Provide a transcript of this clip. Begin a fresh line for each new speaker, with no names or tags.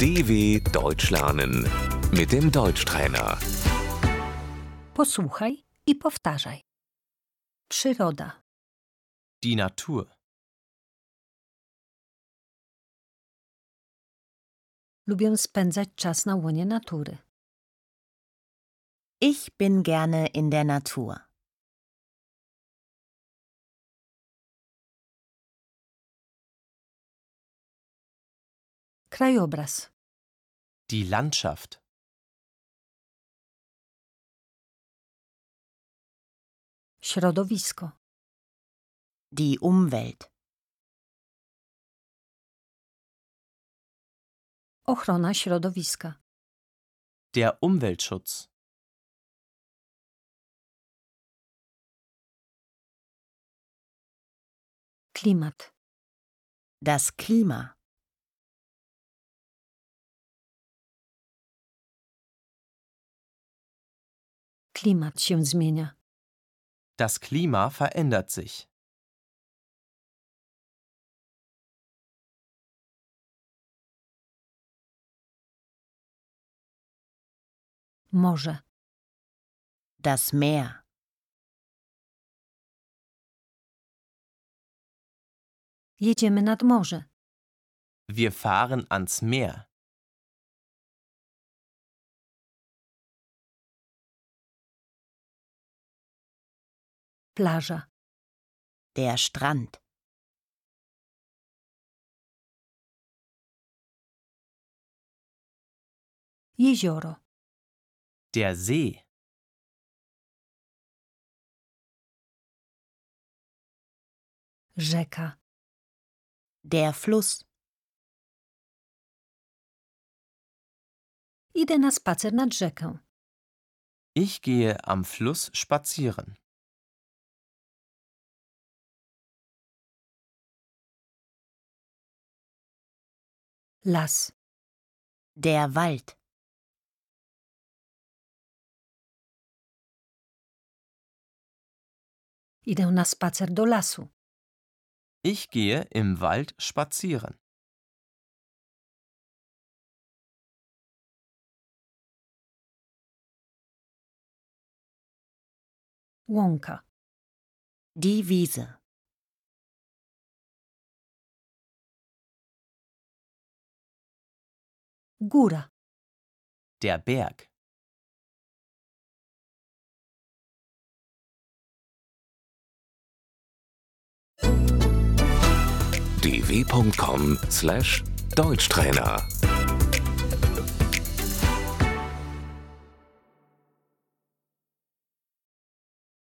DW Deutsch lernen mit dem Deutschtrainer.
Posłuchaj i powtarzaj. Przyroda,
Die Natur,
lubię spędzać czas na łonie natury.
Ich bin gerne in der Natur.
Krajobraz,
die Landschaft,
środowisko,
Die Umwelt.
ochrona środowiska,
der Umweltschutz,
klimat,
Das Klima.
klimat się zmienia,
das Klima verändert sich,
morze,
Das Meer.
jedziemy nad morze,
wir fahren ans Meer,
plaża,
Der Strand.
jezioro,
der See,
rzeka,
Der Fluss.
idę na spacer nad rzekę,
ich gehe am Fluss spazieren,
las,
Der Wald.
idę na spacer do lasu,
ich gehe im Wald spazieren,
łąka,
Die Wiese.
góra,
der Berg,
dw.com/deutschtrainer